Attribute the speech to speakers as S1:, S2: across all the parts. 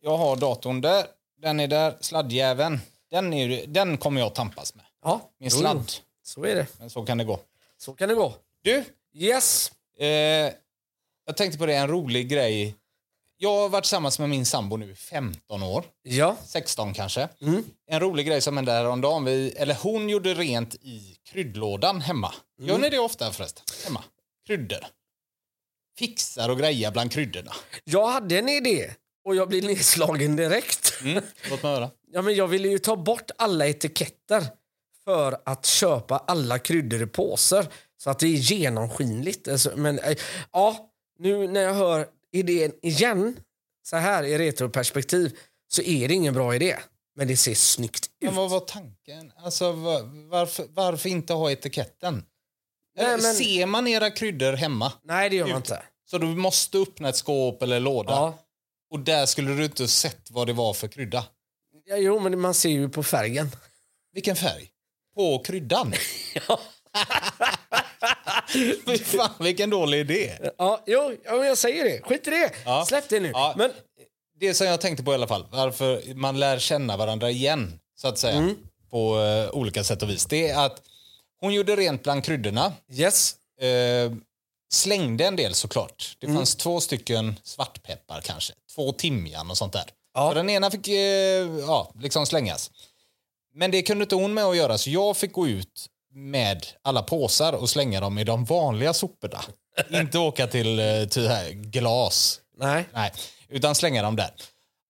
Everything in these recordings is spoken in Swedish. S1: Jag har datorn där. Den är där. Sladdjäveln. Den, är, ju- den kommer jag tampas med.
S2: Ja,
S1: Min
S2: jo, jo.
S1: sladd.
S2: Så är det.
S1: Men så kan det gå.
S2: Så kan det gå.
S1: Du,
S2: Yes.
S1: eh, jag tänkte på det. En rolig grej. Jag har varit tillsammans med min sambo nu i 15 år.
S2: Ja.
S1: 16 kanske. En rolig grej som hände häromdagen. Vi, eller hon gjorde rent i kryddlådan hemma. Gör ni det ofta förresten? Hemma. Kryddor. Fixar och grejer bland kryddorna.
S2: Jag hade en idé och jag blev nedslagen direkt.
S1: Mm. Låt mig höra.
S2: Ja, men jag ville ju ta bort alla etiketter för att köpa alla kryddor i påsar så att det är genomskinligt. Alltså, men eh, ja, nu när jag hör idén igen så här i retroperspektiv så är det ingen bra idé. Men det ser snyggt ut.
S1: Men vad var tanken? Alltså, va- varför, varför inte ha etiketten?
S2: Nej,
S1: Eller
S2: men-
S1: Ser man era kryddor hemma
S2: Nej, det gör man inte.
S1: så du måste öppna ett skåp eller låda
S2: Ja.
S1: och där skulle du inte sett vad det var för krydda.
S2: Ja, jo, men man ser ju på färgen.
S1: Vilken färg? På kryddan? Fy fan, vilken dålig idé.
S2: Ja, jo, ja, men jag säger det. Skit i det.
S1: Ja.
S2: Släpp det nu.
S1: Ja.
S2: Men
S1: Det som jag tänkte på i alla fall, varför man lär känna varandra igen, så att säga,
S2: Mm.
S1: på eh, olika sätt och vis, det är att hon gjorde rent bland kryddorna.
S2: yes.
S1: Eh, slängde en del såklart. Det fanns två stycken svartpeppar kanske. Två timjan och sånt där.
S2: Ja.
S1: Så den ena fick eh, ja, liksom slängas. Men det kunde inte hon med att göra så jag fick gå ut med alla påsar och slänga dem i de vanliga soporna. inte åka till, eh, till här, glas.
S2: Nej.
S1: Nej, utan slänga dem där.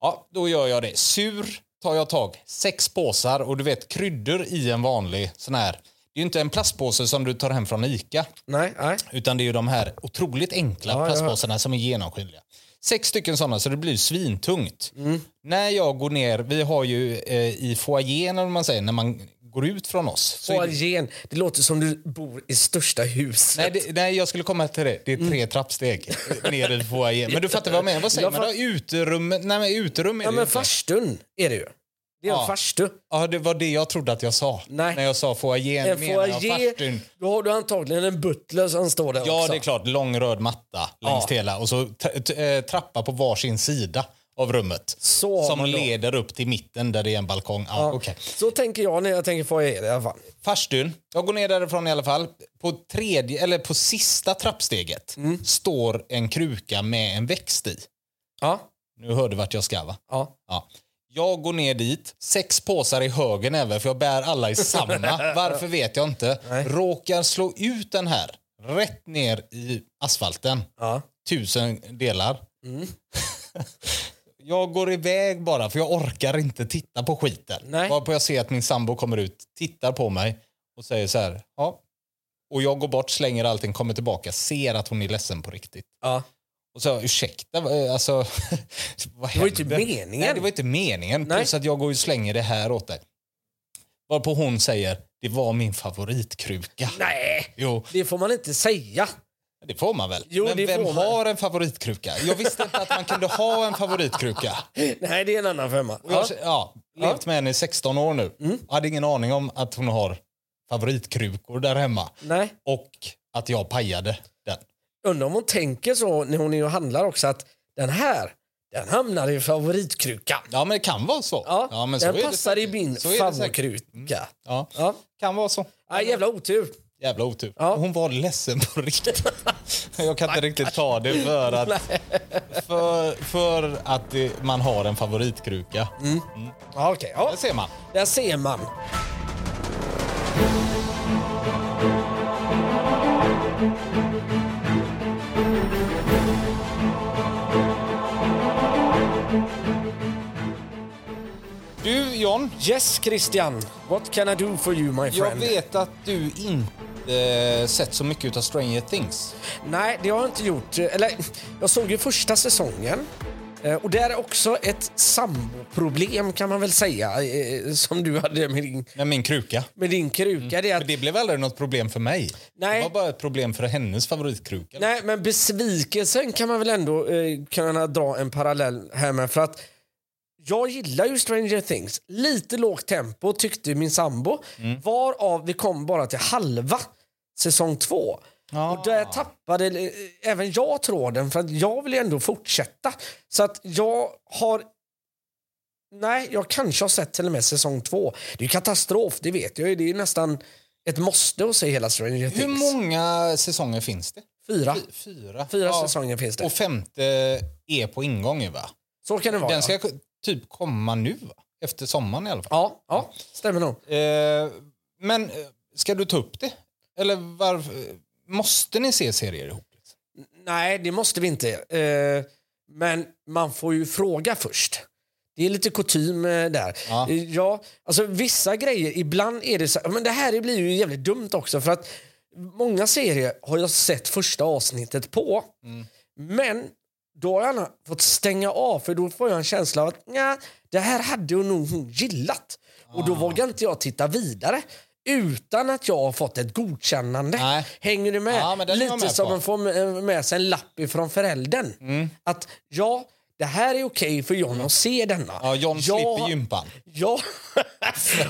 S1: Ja, då gör jag det. Sur tar jag tag. Sex påsar och du vet kryddor i en vanlig sån här. Det är ju inte en plastpåse som du tar hem från Ica.
S2: Nej, nej.
S1: Utan det är ju de här otroligt enkla
S2: Ja, ja.
S1: plastpåsarna som är genomskinliga. Sex stycken sådana så det blir svintungt.
S2: Mm.
S1: När jag går ner, vi har ju eh, i foajén eller vad man säger, när man går ut från oss. Så är det-
S2: Foajén. Det låter som du bor i största huset.
S1: nej, det, nej, jag skulle komma till det. Det är
S2: Mm.
S1: tre trappsteg ner i foajén. Men du fattar vad jag menar. Vad säger
S2: Jag
S1: man då? Uterum? Nej, men uterum är
S2: Ja,
S1: det
S2: men
S1: inte.
S2: farstun är det ju. Det är
S1: Ja.
S2: en farstu.
S1: Ja, det var det jag trodde att jag sa.
S2: Nej.
S1: När jag sa foajén
S2: En
S1: menar jag
S2: foajé,
S1: farstun.
S2: då har du antagligen en butler som står där
S1: Ja,
S2: också.
S1: det är klart. Lång röd matta längs
S2: Ja.
S1: hela och så t- t- eh, trappa på varsin sida av rummet.
S2: Så har
S1: som
S2: man då.
S1: leder upp till mitten där det är en balkong. Ja, okej.
S2: Så tänker jag när jag tänker foajé i alla fall.
S1: Farstun, jag går ner därifrån i alla fall. På, tredje, eller på sista trappsteget står en kruka med en växt i.
S2: Ja,
S1: Nu hörde vart jag ska va?
S2: ja.
S1: Ja. Jag går ner dit, sex påsar i högen även för jag bär alla i samma. Varför vet jag inte.
S2: Nej.
S1: Råkar slå ut den här rätt ner i asfalten.
S2: ja.
S1: Tusen delar.
S2: Mm.
S1: jag går iväg bara för jag orkar inte titta på skiten.
S2: Nej.
S1: Varpå jag ser att min sambo kommer ut, tittar på mig och säger så här. Ja. Och jag går bort, slänger allting, kommer tillbaka, ser att hon är ledsen på riktigt.
S2: ja.
S1: Och så ursäkta, eh, alltså... vad
S2: Det var ju inte
S1: hände?"
S2: meningen.
S1: Nej, det var inte meningen.
S2: Nej.
S1: Plus att jag går och slänger det här åt dig. Varpå hon säger, det var min favoritkruka.
S2: Nej,
S1: Jo,
S2: det får man inte säga.
S1: det får man väl?
S2: Jo,
S1: Men
S2: det
S1: vem
S2: får man.
S1: har en favoritkruka? Jag visste inte att man kunde ha en favoritkruka.
S2: Nej, det är en annan femma.
S1: Jag
S2: Ja.
S1: har ja, levt med henne i 16 år nu.
S2: Mm.
S1: Jag hade ingen aning om att hon har favoritkrukor där hemma.
S2: Nej.
S1: Och att jag pajade den.
S2: Undrar om hon tänker så när hon är och handlar också att den här, den hamnar i favoritkrukan.
S1: Ja, men det kan vara så.
S2: Ja,
S1: men så
S2: den
S1: är det
S2: passar i
S1: säkert.
S2: min
S1: Så är det säkert. Mm.
S2: favoritkruka.
S1: Ja,
S2: Ja.
S1: kan vara så.
S2: Ja, jävla otur.
S1: Jävla otur.
S2: Ja.
S1: Hon var ledsen på riktigt. Jag kan inte riktigt ta det för att, för, för att det, man har en favoritkruka.
S2: Mm. Ja, okej. Ja.
S1: Där ser man.
S2: Där ser man.
S1: Du John,
S2: Yes, Christian. What can I do for you, my
S1: jag
S2: friend?
S1: vet att du inte eh, sett så mycket av Stranger Things.
S2: Nej, det har jag inte gjort. Eller, jag såg ju första säsongen. Eh, Och där är också ett samboproblem kan man väl säga, eh, som du hade med din,
S1: Nej, min kruka.
S2: med din kruka. Det är
S1: Mm. Men
S2: att,
S1: det blev aldrig något problem för mig.
S2: Nej.
S1: Det var bara ett problem för hennes favoritkruka.
S2: nej, men besvikelsen kan man väl ändå eh, kunna dra en parallell här med. För att jag gillar ju Stranger Things. Lite lågt tempo tyckte min sambo.
S1: Mm.
S2: Varav vi kom bara till halva säsong två. Och
S1: Ah.
S2: där tappade eh, även jag tråden för att jag vill ju ändå fortsätta. Så att jag har nej, jag kanske har sett till och med säsong två. Det är ju katastrof, det vet jag ju. Det är ju nästan ett måste att se hela Stranger
S1: Hur
S2: Things.
S1: många säsonger finns det?
S2: Fyra.
S1: Fyra.
S2: Fyra
S1: Ja,
S2: säsonger finns det.
S1: Och femte är på ingång ju va?
S2: Så kan det vara.
S1: Den
S2: ja.
S1: ska k- typ komma nu va? Efter sommaren i alla fall.
S2: Ja, ja, stämmer nog.
S1: Eh, men eh, ska du ta upp det? Eller varför? Måste ni se serier ihop? Liksom?
S2: Nej, det måste vi inte. Eh, men man får ju fråga först. Det är lite kutym eh, där.
S1: Ja.
S2: Eh, ja, alltså vissa grejer, ibland är det så men det här blir ju jävligt dumt också för att många serier har jag sett första avsnittet på.
S1: Mm.
S2: Men då har jag gärna fått stänga av för då får jag en känsla av att nja, det här hade jag nog hon gillat. Och
S1: Ah.
S2: då vågar inte jag titta vidare utan att jag har fått ett godkännande.
S1: Nej.
S2: Hänger du med?
S1: Ja, men den är jag
S2: Lite
S1: med
S2: som
S1: på.
S2: en får med- med sig en lapp ifrån föräldern.
S1: Mm.
S2: Att ja, det här är okej för John att se denna.
S1: Ja, John
S2: jag,
S1: slipper gympan.
S2: Jag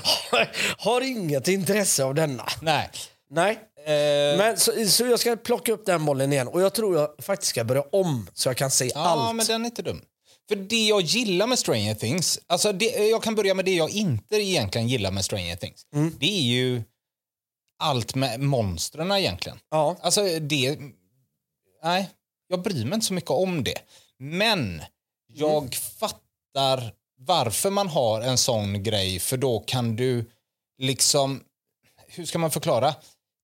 S2: har, har inget intresse av denna.
S1: Nej.
S2: Nej.
S1: Eh,
S2: Men så, så jag ska plocka upp den bollen igen och jag tror jag faktiskt ska börja om så jag kan se
S1: Ja,
S2: allt.
S1: men den är inte dum. För det jag gillar med Stranger Things, alltså det, jag kan börja med det jag inte egentligen gillar med Stranger Things. Det är ju allt med monstren egentligen.
S2: Ja.
S1: Alltså det, nej, jag bryr mig inte så mycket om det. Men Mm. jag fattar varför man har en sån grej för då kan du liksom, hur ska man förklara?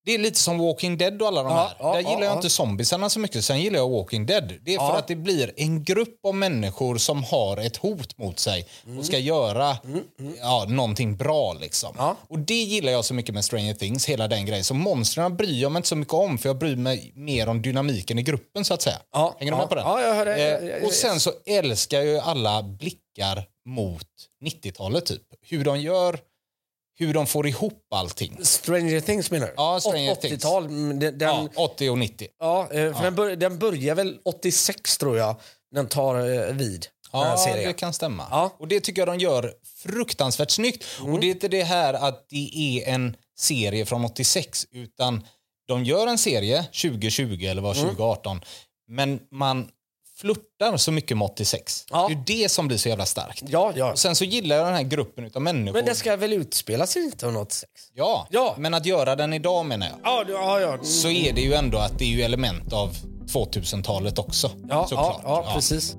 S1: Det är lite som Walking Dead och alla de
S2: Ja,
S1: här.
S2: ja,
S1: Där
S2: ja,
S1: gillar jag
S2: ja.
S1: inte zombiesarna så mycket, sen gillar jag Walking Dead. Det är
S2: Ja.
S1: för att det blir en grupp av människor som har ett hot mot sig
S2: Mm.
S1: och ska göra Ja, någonting bra. Liksom.
S2: Ja.
S1: Och Det gillar jag så mycket med Stranger Things, hela den grejen. Så monstren bryr jag mig inte så mycket om för jag bryr mig mer om dynamiken i gruppen så att säga.
S2: Ja,
S1: Hänger
S2: ja.
S1: du med på det?
S2: Ja, jag hör det. Jag- jag-
S1: Eh, och sen så älskar ju alla blickar mot 90-talet typ. Hur de gör, hur de får ihop allting.
S2: Stranger Things menar du?
S1: Ja, Stranger Things.
S2: 80-tal. mm, Den,
S1: Ja,
S2: den,
S1: 80 och 90.
S2: ja. eh, för Den, bör, den börjar väl 86 tror jag, den tar eh, vid. den här
S1: Ja,
S2: serien.
S1: det kan stämma.
S2: Ja. Mm.
S1: Och det tycker jag de gör fruktansvärt snyggt. Och det är inte det här att det är en serie från 86 utan de gör en serie 2020 eller
S2: Mm.
S1: var 2018 men man flörtar så mycket med 86.
S2: Ja.
S1: Det är ju det som blir så jävla starkt.
S2: Ja, ja.
S1: Och sen så gillar jag den här gruppen av människor.
S2: Men det ska väl utspela sig 1986?
S1: ja.
S2: Ja.
S1: men att göra den idag menar jag.
S2: Ja, du- ja, ja.
S1: Så är det ju ändå att det är ju element av 2000-talet också.
S2: Ja, ja,
S1: såklart.
S2: ja, precis.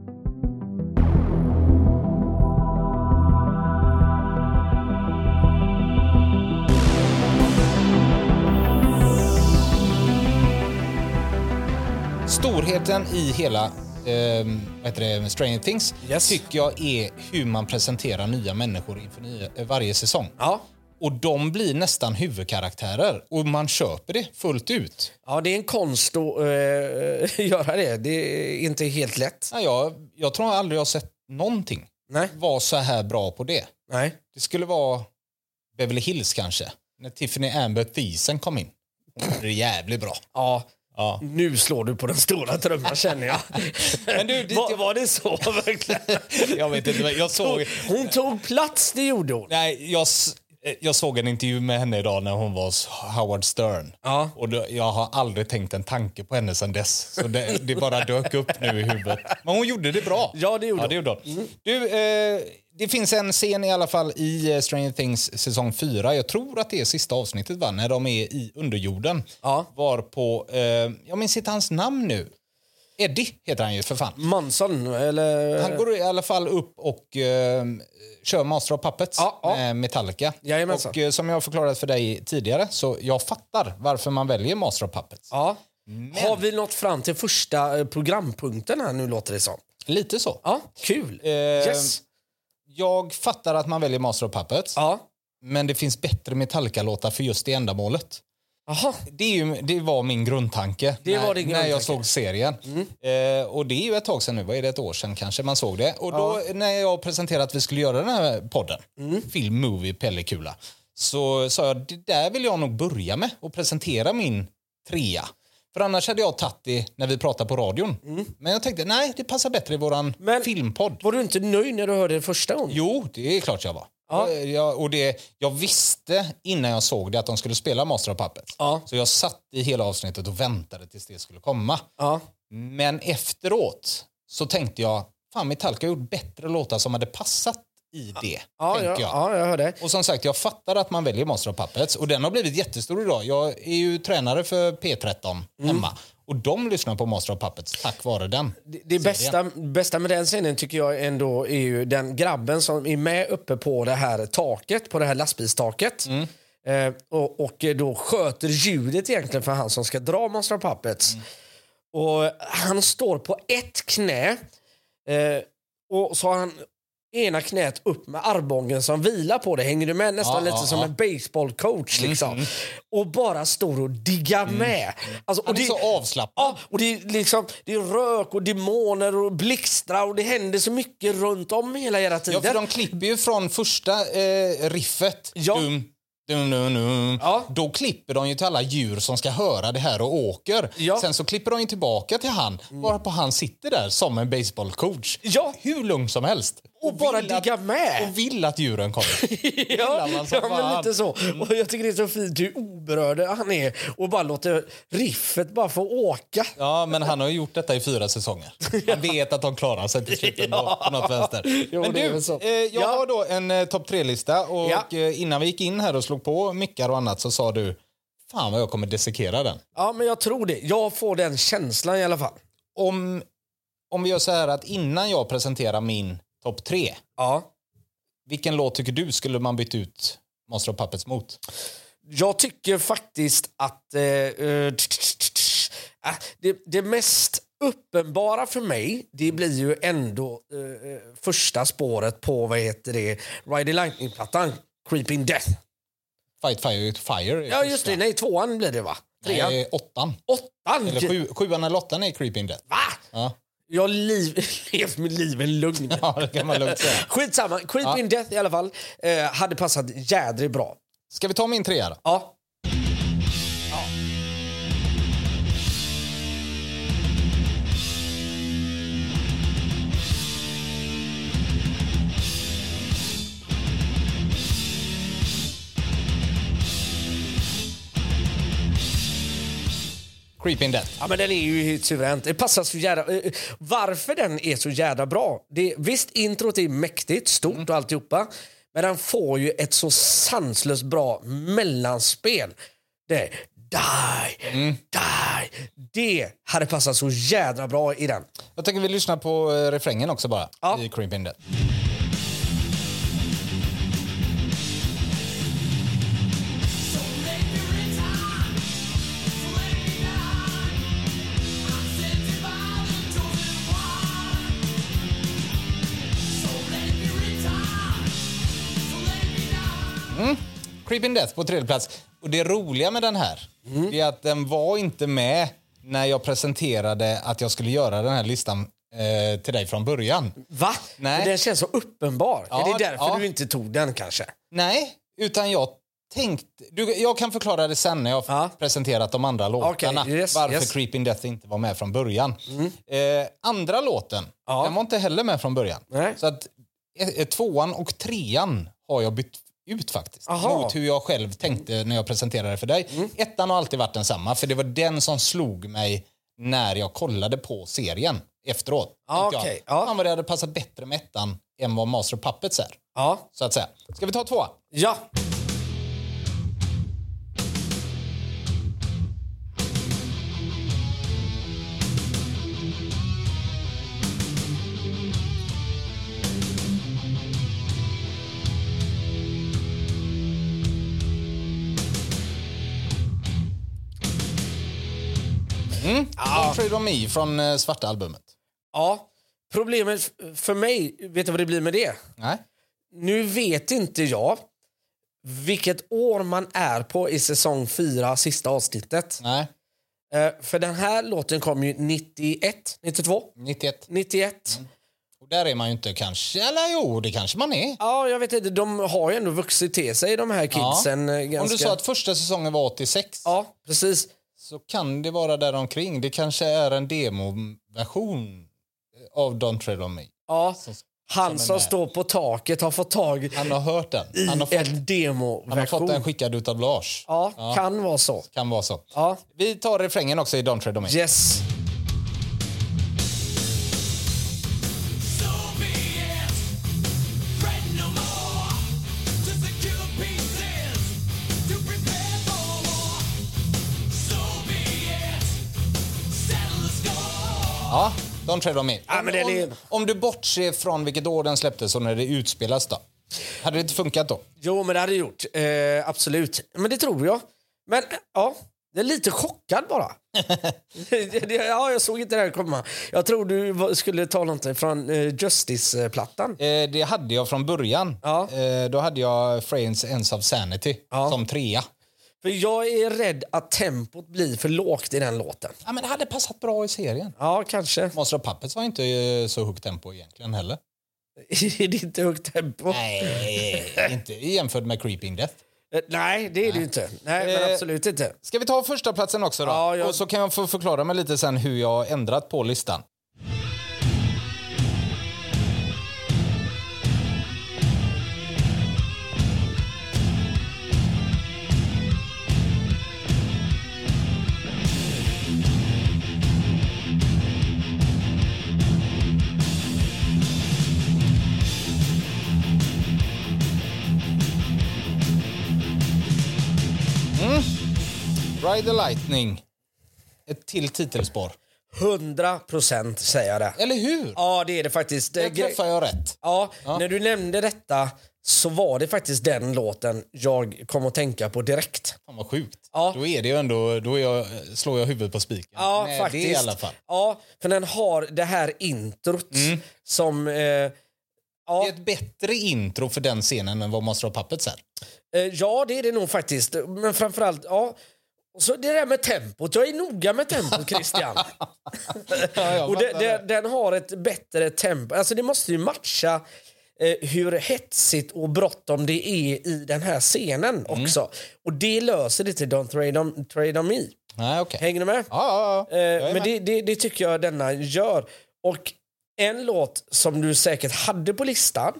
S1: Storheten i hela eh, vad heter det, Stranger Things
S2: Yes.
S1: tycker jag är hur man presenterar nya människor inför nya, eh, varje säsong.
S2: Ja.
S1: Och de blir nästan huvudkaraktärer och man köper det fullt ut.
S2: ja, det är en konst att eh, göra det. Det är inte helt lätt.
S1: Nej, jag, jag tror aldrig jag har sett någonting
S2: Nej,
S1: vara så här bra på det.
S2: nej.
S1: Det skulle vara Beverly Hills kanske, när Tiffany Amber Thiessen kom in. Hon gjorde det jävligt bra.
S2: Ja,
S1: Ja.
S2: nu slår du på den stora trumman känner jag.
S1: Men du, dit
S2: var,
S1: jag-
S2: var det så verkligen?
S1: Jag vet inte, men jag såg...
S2: Hon tog plats, det gjorde hon.
S1: Nej, jag, s- eh, jag såg en intervju med henne idag när hon var hos Howard Stern.
S2: Ja.
S1: Och då, jag har aldrig tänkt en tanke på henne sedan dess. Så det, det bara dök upp nu i huvudet. Men hon gjorde det bra.
S2: Ja, det gjorde Mm.
S1: ja, det, gjorde hon. Du, eh, det finns en scen i alla fall i eh, Stranger Things säsong 4. Jag tror att det är sista avsnittet, va? när de är i underjorden.
S2: Ja.
S1: Var på, eh, jag minns inte hans namn nu. Eddie heter han ju för fan.
S2: Manson, eller?
S1: Han går i alla fall upp och eh, kör Master of Puppets
S2: Ja, ja.
S1: med Metallica.
S2: Jajamensan.
S1: Och eh, som jag har förklarat för dig tidigare så jag fattar varför man väljer Master of Puppets.
S2: Ja. Har vi nått fram till första eh, programpunkten här nu låter det som?
S1: Lite så.
S2: Ja, kul.
S1: Eh,
S2: yes.
S1: Jag fattar att man väljer Master of Puppets
S2: Ja.
S1: men det finns bättre Metallica-låtar för just det ändamålet.
S2: Aha.
S1: Det, är ju, det var min grundtanke,
S2: Det
S1: när,
S2: var din
S1: när jag
S2: grundtanke. Mm.
S1: såg serien. Eh, och Det är ju ett tag sedan nu, vad är det, ett år sedan kanske man såg det. Och då när jag presenterade att vi skulle göra den här podden,
S2: Mm.
S1: film, movie, pellikula, så sa jag det där vill jag nog börja med och presentera min trea. För annars hade jag tagit det när vi pratade på radion. Men jag tänkte nej, det passar bättre i våran
S2: Mm. Men-
S1: filmpodd.
S2: Var du inte nöjd när du hörde det första gången?
S1: Jo, det är klart jag var.
S2: Ja.
S1: Jag, och det, jag visste innan jag såg det att de skulle spela Master of Puppets.
S2: Ja.
S1: Så jag satt i hela avsnittet och väntade tills det skulle komma.
S2: Ja.
S1: Men efteråt så tänkte jag, fan Metallica har gjort bättre låtar som hade passat i det.
S2: Ja,
S1: tänker
S2: ja,
S1: jag.
S2: ja, jag hör det.
S1: Och som sagt, jag fattar att man väljer Monster of Puppets och den har blivit jättestor idag. Jag är ju tränare för P13
S2: Mm.
S1: hemma och de lyssnar på Monster of Puppets tack vare den.
S2: Det, det bästa, bästa med den scenen tycker jag ändå är ju den grabben som är med uppe på det här taket, på det här lastbilstaket.
S1: Mm.
S2: Eh, och, och då sköter ljudet egentligen för han som ska dra Monster of Puppets.
S1: Mm.
S2: Och han står på ett knä eh, och så har han ena knät upp med armbågen som vilar på det. Hänger du med? Nästan
S1: Ja,
S2: lite
S1: ja,
S2: som
S1: ja. Mm,
S2: en baseballcoach liksom. Och bara står och diggar med. Alltså, och
S1: Han är
S2: det-
S1: så avslappnad.
S2: Ja, och det är, liksom, det är rök och demoner och blixtrar och det händer så mycket runt om hela, hela
S1: Ja,
S2: tiden.
S1: för de klipper ju från första eh, riffet.
S2: Ja.
S1: Dum, dum, dum, dum.
S2: Ja.
S1: Då klipper de ju till alla djur som ska höra det här och åker.
S2: Ja. Mm.
S1: Sen så klipper de ju tillbaka till han, varpå han sitter där som en baseballcoach.
S2: Ja.
S1: Hur lugn som helst.
S2: Och bara
S1: vill att-
S2: digga med.
S1: Och vill att djuren kommer.
S2: ja,
S1: man som
S2: ja men
S1: fan. Mm.
S2: lite så. Och jag tycker det är så fint hur oberörd han är och bara låter riffet bara få åka.
S1: ja, men han har ju gjort detta i fyra säsonger. Han vet att de klarar sig till slut ändå,
S2: Ja.
S1: på något vänster.
S2: Jo,
S1: men
S2: det är
S1: du,
S2: väl så.
S1: eh, jag
S2: Ja.
S1: har då en eh, topp tre-lista och
S2: Ja.
S1: eh, innan vi gick in här och slog på mickar och annat så sa du Fan vad jag kommer dissekera den.
S2: Ja, men jag tror det. Jag får den känslan i alla fall.
S1: om, om vi gör så här att innan jag presenterar min topp tre,
S2: Ja.
S1: vilken låt tycker du skulle man byta ut Monster of Puppets mot?
S2: Jag tycker faktiskt att... Eh, eh, tch, tch, tch, tch, ah, det, det mest uppenbara för mig det blir ju ändå eh, eh, första spåret på vad heter det, Ride the Lightning-plattan, Creeping Death.
S1: Fight Fire with Fire? är
S2: Ja,
S1: första.
S2: just det. Nej, tvåan blir det, va? Trean?
S1: Nej, åttan.
S2: Åttan!
S1: Eller sju, sjuan eller åttan är Creeping Death.
S2: Va?
S1: Ja.
S2: Jag har liv, levt mitt liv i lugn.
S1: ja, det kan man lugnt säga.
S2: Skitsamma. Creeping Death i alla fall eh, hade passat jädrigt bra.
S1: Ska vi ta min trea då?
S2: Ja.
S1: Creeping Death.
S2: Ja, men den är ju helt suveränt. Det passar så jädra... eh, Varför den är så jädra bra? Det, visst, introt är mäktigt, stort
S1: Mm.
S2: och alltihopa. Men den får ju ett så sanslöst bra mellanspel. Det är die,
S1: Mm.
S2: die. Det hade passat så jädra bra i den.
S1: Jag tänker vi lyssnar på eh, refrängen också bara
S2: Ja.
S1: i Creeping Death. Creeping Death på tredje plats. Och det roliga med den här är att den var inte med när jag presenterade att jag skulle göra den här listan eh, till dig från början.
S2: Va?
S1: Nej.
S2: Men Den känns så uppenbar.
S1: Ja,
S2: är det därför
S1: ja.
S2: du inte tog den kanske?
S1: Nej, utan jag tänkte... Du, jag kan förklara det sen när jag
S2: Ja.
S1: presenterat de andra låtarna.
S2: Okej, yes,
S1: varför
S2: yes.
S1: Creeping Death inte var med från början. Eh, andra låten,
S2: Ja.
S1: den var inte heller med från början.
S2: Nej.
S1: Så att eh, tvåan och trean har jag bytt ut faktiskt.
S2: Aha. Mm.
S1: Mot hur jag själv tänkte när jag presenterade det för dig. Ettan har alltid varit densamma, för det var den som slog mig när jag kollade på serien efteråt.
S2: Ja,
S1: Tänkte
S2: Ah, okej,
S1: jag,
S2: ja.
S1: Fan vad det hade passat bättre med ettan än vad Master of Puppets är.
S2: Ja.
S1: Så att säga. Ska vi ta tvåan?
S2: Ja.
S1: Ja. Trade on Me från eh, svarta albumet.
S2: ja. Problemet f- för mig, vet du vad det blir med det?
S1: Nej.
S2: Nu vet inte jag vilket år man är på i säsong 4, sista avsnittet.
S1: Nej.
S2: Eh, för den här låten kom ju 91, 92,
S1: 91.
S2: 91.
S1: Och där är man ju inte kanske. Eller jo, det kanske man är.
S2: Ja, jag vet inte. De har ju ändå vuxit till sig, de här kidsen. eh, Ganska...
S1: Om du sa att första säsongen var 86
S2: Ja, precis.
S1: så kan det vara däromkring. Det kanske är en demoversion av Don't Tread On Me.
S2: Ja. Han
S1: är
S2: som
S1: med.
S2: står på taket har fått tag i
S1: eh, Han har hört den. Han har fått,
S2: en
S1: han har
S2: demoversion.
S1: fått den skickad utav Lars.
S2: Ja, kan vara så.
S1: Kan vara så.
S2: Ja.
S1: Vi tar refrängen också i Don't Tread On Me.
S2: Yes.
S3: So be it. Spread no
S1: De tre de in.
S2: Ja, men den är-
S1: om, om du bortser från vilket år den släpptes och när det utspelas då? Hade det inte funkat då?
S2: Jo, men det hade det gjort. Eh, absolut. Men det tror jag. Men eh, ja, jag är lite chockad bara. Det- det- ja, jag såg inte det här komma. Jag tror du var- skulle ta någonting från eh, Justice-plattan.
S1: Eh, det hade jag från början.
S2: Ja.
S1: Eh, då hade jag Frames Ends of Sanity
S2: Ja.
S1: som trea.
S2: För jag är rädd att tempot blir för lågt i den låten.
S1: Ja, men det hade passat bra i serien.
S2: Ja, kanske.
S1: Monster of Puppets var inte eh, så högt tempo egentligen heller.
S2: det är inte högt tempo. Nej,
S1: Nej, inte jämfört med Creeping Death.
S2: Eh, Nej det är det ju inte. Nej, men
S1: Eh,
S2: absolut inte.
S1: Ska vi ta första platsen också då?
S2: Ja, jag-
S1: Och så kan jag få förklara mig lite sen hur jag har ändrat på listan. Ride the Lightning. Ett till titelspår.
S2: 100 procent säger jag det.
S1: Eller hur?
S2: Ja, det är det faktiskt. Det är
S1: Där
S2: gre-
S1: träffar jag rätt.
S2: Ja, när du nämnde detta så var det faktiskt den låten jag kom att tänka på direkt.
S1: Fan vad sjukt.
S2: Ja.
S1: Då är det ju ändå, då är jag, eh, slår jag huvudet på spiken.
S2: Ja,
S1: Med
S2: faktiskt.
S1: Det i alla fall. Mm.
S2: Ja, för den har det här introt som... Eh, ja,
S1: Det är ett bättre intro för den scenen än vad Monster of Puppets är.
S2: eh, ja, det är det nog faktiskt. Men framförallt, ja. Och så det där med tempot. Jag är noga med tempot, Christian.
S1: jag
S2: och det,
S1: fattar
S2: det, den har ett bättre tempo. Alltså, det måste ju matcha eh, hur hetsigt och bråttom det är i den här scenen
S1: Mm.
S2: också. Och det löser inte Don't Trade On, trade on Me.
S1: Nej, okej.
S2: Hänger du med?
S1: Ja, ja, ja. Jag
S2: Eh,
S1: är
S2: men
S1: med.
S2: det, det, det tycker jag denna gör. Och en låt som du säkert hade på listan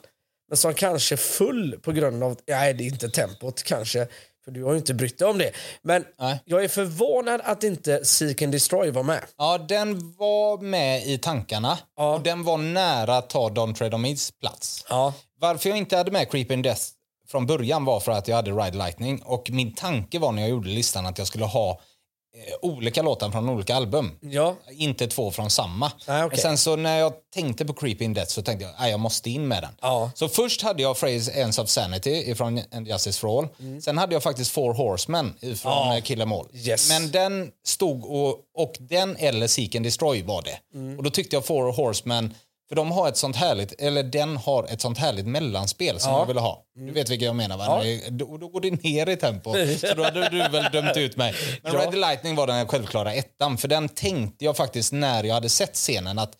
S2: men som kanske full på grund av... Nej, det är inte tempot kanske. För du har ju inte brytt dig om det. Men
S1: Nej.
S2: jag är förvånad att inte Seek and Destroy var med.
S1: Ja, den var med i tankarna.
S2: Ja.
S1: Och den var nära att ta Don't Tread On Me's plats.
S2: Ja.
S1: Varför jag inte hade med Creeping Death från början var för att jag hade Ride Lightning. Och min tanke var när jag gjorde listan att jag skulle ha eh, olika låtar från olika album.
S2: Ja.
S1: Inte två från samma.
S2: Nej, okej.
S1: Men sen så när jag tänkte på Creeping Death så tänkte jag att jag måste in med den.
S2: Ja.
S1: Så först hade jag Phrase Ends of Sanity från And Justice for All. Sen hade jag faktiskt Four Horsemen från
S2: Mm. Ja.
S1: Kill Em All.
S2: Yes.
S1: Men den stod och, och den eller Seek and Destroy var det.
S2: Mm.
S1: Och då tyckte jag Four Horsemen, för de har ett sånt härligt, eller den har ett sånt härligt mellanspel som jag ville ha.
S2: Mm.
S1: Du vet vilka jag menar va? När det- Då, då går det ner i tempo. Så då hade du väl dömt ut mig. Men Red Lightning var den självklara ettan. För den tänkte jag faktiskt när jag hade sett scenen att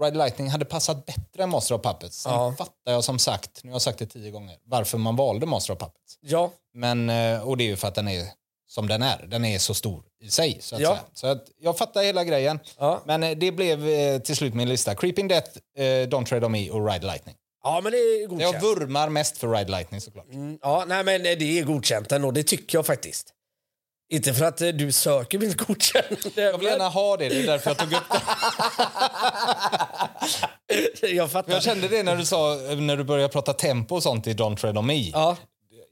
S1: Ride Lightning hade passat bättre än Master of Puppets. Sen
S2: Ja.
S1: fattar jag som sagt, nu har jag sagt det tio gånger, varför man valde Master of Puppets.
S2: Ja.
S1: Men, eh, och det är ju för att den är som den är. Den är så stor i sig. Så att
S2: Ja.
S1: säga. Så att jag fattar hela grejen.
S2: Ja.
S1: Men eh, det blev eh, till slut min lista. Creeping Death, eh, Don't Tread On Me och Ride Lightning.
S2: ja, men det är godkänt.
S1: Jag vurmar mest för Ride Lightning såklart.
S2: Mm, Ja, nej, men det är godkänt ändå. Det tycker jag faktiskt. Inte för att eh, du söker mitt godkännande.
S1: Jag vill gärna ha det, det är därför jag tog upp det.
S2: jag fattar.
S1: Jag kände det när du, sa, eh, när du började prata tempo och sånt i Don't Tread On Me.
S2: ja.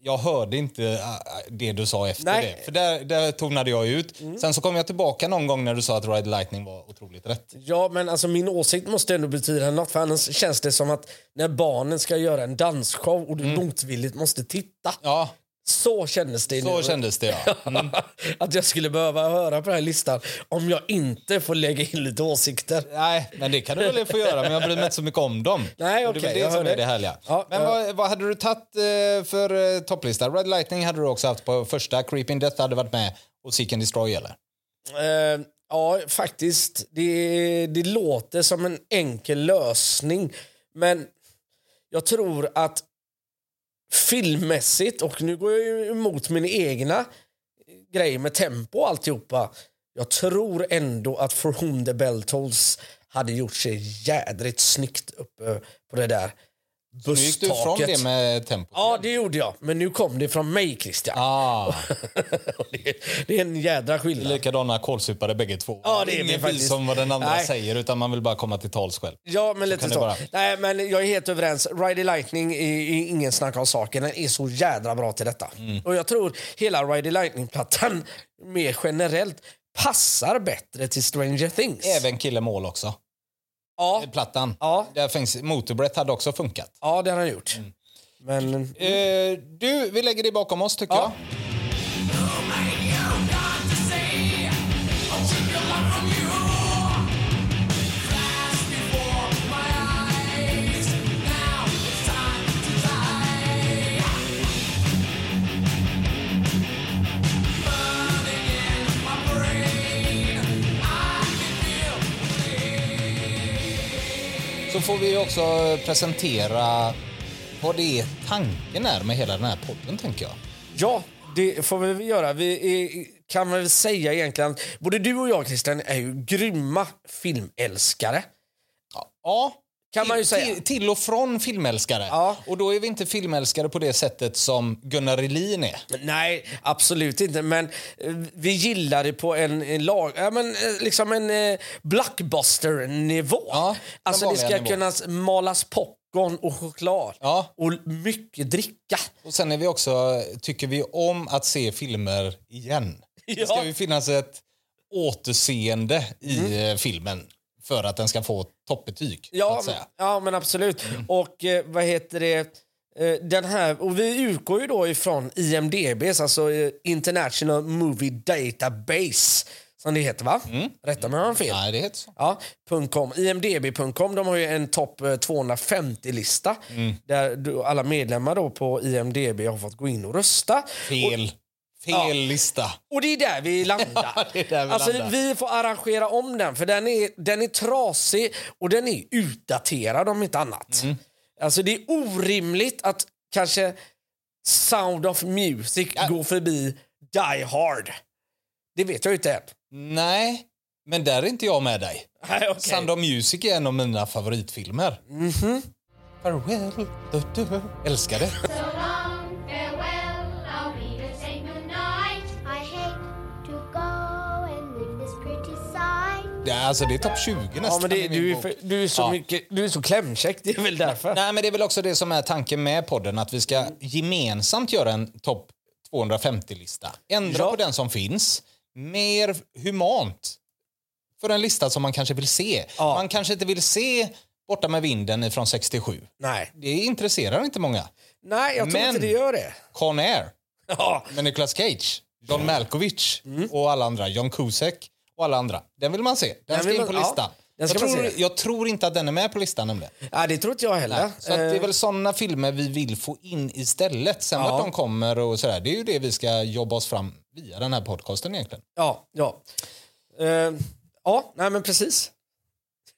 S1: jag hörde inte äh, det du sa efter
S2: Nej. Mm.
S1: det. För där, där tonade jag ut. Sen så kom jag tillbaka någon gång när du sa att Ride Lightning var otroligt rätt.
S2: Ja, men alltså min åsikt måste ändå betyda något. För annars känns det som att när barnen ska göra en dansshow och du
S1: Mm.
S2: motvilligt måste titta.
S1: Ja,
S2: Så kändes det
S1: så
S2: nu.
S1: kändes det Mm. ja.
S2: att jag skulle behöva höra på den här listan om jag inte får lägga in lite åsikter.
S1: Nej, men det kan du väl få göra, men jag bryr mig inte så mycket om dem.
S2: Nej,
S1: Och det
S2: okej,
S1: är väl
S2: jag
S1: det som
S2: hörde.
S1: är det härliga.
S2: Ja,
S1: men
S2: ja.
S1: vad, vad hade du tagit eh, för eh, topplista? Red Lightning hade du också haft på första, Creeping Death hade varit med och Seek and Destroy eller?
S2: Eh, ja, faktiskt. Det, det låter som en enkel lösning. Men jag tror att filmmässigt, och nu går jag ju emot min egna grej med tempo och alltihopa. Jag tror ändå att For Whom the Bell Tolls hade gjort sig jädrigt snyggt uppe på det där
S1: Nu gick du ifrån
S2: busstaket.
S1: det med tempo.
S2: Ja, det gjorde jag. Men nu kom det från mig, Christian.
S1: Ah,
S2: det, det är en jädra skillnad.
S1: likadana kålsupare bägge två.
S2: Ja, det är vi
S1: Ingen bryr
S2: faktiskt.
S1: sig om vad den andra
S2: Nej.
S1: säger utan man vill bara komma till tals själv.
S2: Ja, men lite
S1: kan det
S2: så.
S1: vara.
S2: Nej, men jag är helt överens. Ride Lightning är, är ingen snack om saken. Den är så jädra bra till detta.
S1: Mm.
S2: Och jag tror hela Ride Lightning-plattan mer generellt passar bättre till Stranger Things.
S1: Även Kill Em All också.
S2: Ja,
S1: plattan.
S2: ja,
S1: Där finns, Motorbrett hade också funkat.
S2: ja det har han gjort.
S1: Mm.
S2: Men
S1: Eh, du, vi lägger det bakom oss tycker
S2: Mm. Ja.
S1: jag. Så får vi också presentera vad det är tanken är med hela den här podden tänker jag.
S2: ja, det får vi väl göra. Vi är, kan väl säga egentligen att både du och jag, Christian, är ju grymma filmälskare.
S1: Ja.
S2: Kan
S1: till,
S2: man ju säga.
S1: Till, till och från filmälskare.
S2: Ja.
S1: Och då är vi inte filmälskare på det sättet som Gunnar Elin är.
S2: Nej, absolut inte. Men eh, vi gillar det på en, en lag, ja, men, eh, liksom en eh, blockbuster-nivå.
S1: Ja,
S2: alltså
S1: den
S2: det ska
S1: vanliga
S2: kunna malas popcorn och choklad
S1: Ja.
S2: och mycket dricka.
S1: Och sen är vi också, tycker vi om att se filmer igen. Det ska
S2: Ja.
S1: ju finnas ett återseende i eh, filmen för att den ska få toppbetyg. så
S2: Mm. Ja,
S1: att säga.
S2: ja men absolut.
S1: Mm.
S2: Och eh, vad heter det? Eh, Den här, och vi utgår ju då ifrån IMDBs, alltså eh, International Movie Database, som det heter va?
S1: Mm.
S2: Rätta mig om jag har fel.
S1: Nej, det heter så.
S2: Ja, .com. IMDB.com de har ju en topp 250-lista
S1: Mm.
S2: där du, alla medlemmar då på IMDB har fått gå in och rösta.
S1: Fel. Fel
S2: Ja.
S1: lista.
S2: Och det är där vi landar.
S1: Ja, det är där vi
S2: alltså,
S1: landar.
S2: vi får arrangera om den, för den är, den är trasig och den är utdaterad om inte annat.
S1: Mm.
S2: Alltså Det är orimligt att kanske Sound of Music går förbi Die Hard. Det vet jag ju inte än.
S1: Nej, men där är inte jag med dig.
S2: Nej, okay.
S1: Sound of Music är en av mina favoritfilmer. Mhm. Farewell, du, du. Älskar det.
S3: So long, farewell, I'll be the same night. I hate to go and leave this pretty sight.
S1: Det är, alltså, det är topp 20 nästan
S2: Ja, men det,
S1: i min
S2: du, är
S1: bok.
S2: för, du, är så
S1: Ja.
S2: mycket, du är så klämkäck, det är väl därför.
S1: Nej, men det är väl också det som är tanken med podden, att vi ska gemensamt göra en topp 250-lista. Ändra
S2: Ja.
S1: på den som finns, mer humant för en lista som man kanske vill se.
S2: Ja.
S1: Man kanske inte vill se Borta med vinden från 67.
S2: Nej,
S1: Det intresserar inte många.
S2: Nej jag tror
S1: Men-
S2: inte det gör det.
S1: Con Air
S2: Ja,
S1: med Nicolas Cage, John Malkovich
S2: Mm.
S1: och alla andra, John Cusack och alla andra. Den vill man se. Den, ska
S2: vill
S1: in
S2: man-
S1: på
S2: ja,
S1: listan.
S2: den
S1: jag,
S2: ska man
S1: tror,
S2: se.
S1: jag tror inte att den är med på listan nämligen.
S2: Nej, det tror inte jag heller.
S1: Så att det är
S2: Eh,
S1: väl såna filmer vi vill få in istället. Sen
S2: Ja.
S1: vart de kommer och sådär, det är ju det vi ska jobba oss fram via den här podcasten egentligen.
S2: Ja, ja. Eh, ja, nej men precis.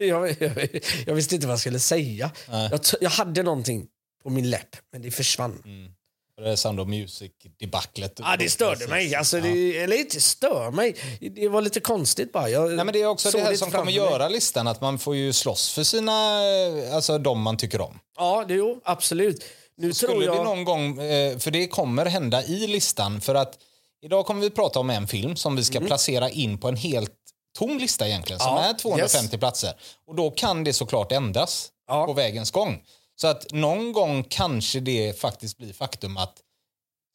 S2: Jag, jag, jag visste inte vad jag skulle säga. Jag, t- jag hade någonting på min läpp, men det försvann.
S1: Mm, Det är Sound of Music-debaclet.
S2: Ah, det störde mig. Alltså, det, eller inte stör mig. Det var lite konstigt bara. Jag
S1: Nej, men det är också
S2: såg
S1: det här
S2: inte
S1: som
S2: framför
S1: kommer
S2: mig.
S1: göra listan, att man får ju slåss för sina, eh, alltså de man tycker om.
S2: Ja, det, jo, absolut. Nu tror
S1: Skulle vi
S2: jag...
S1: någon gång, eh, för det kommer hända i listan, för att idag kommer vi prata om en film som vi ska placera in på en helt tom lista egentligen, som
S2: Mm. Ja,
S1: är 250 platser. Och då kan det såklart ändras
S2: Ja.
S1: på vägens gång. Så att någon gång kanske det faktiskt blir faktum att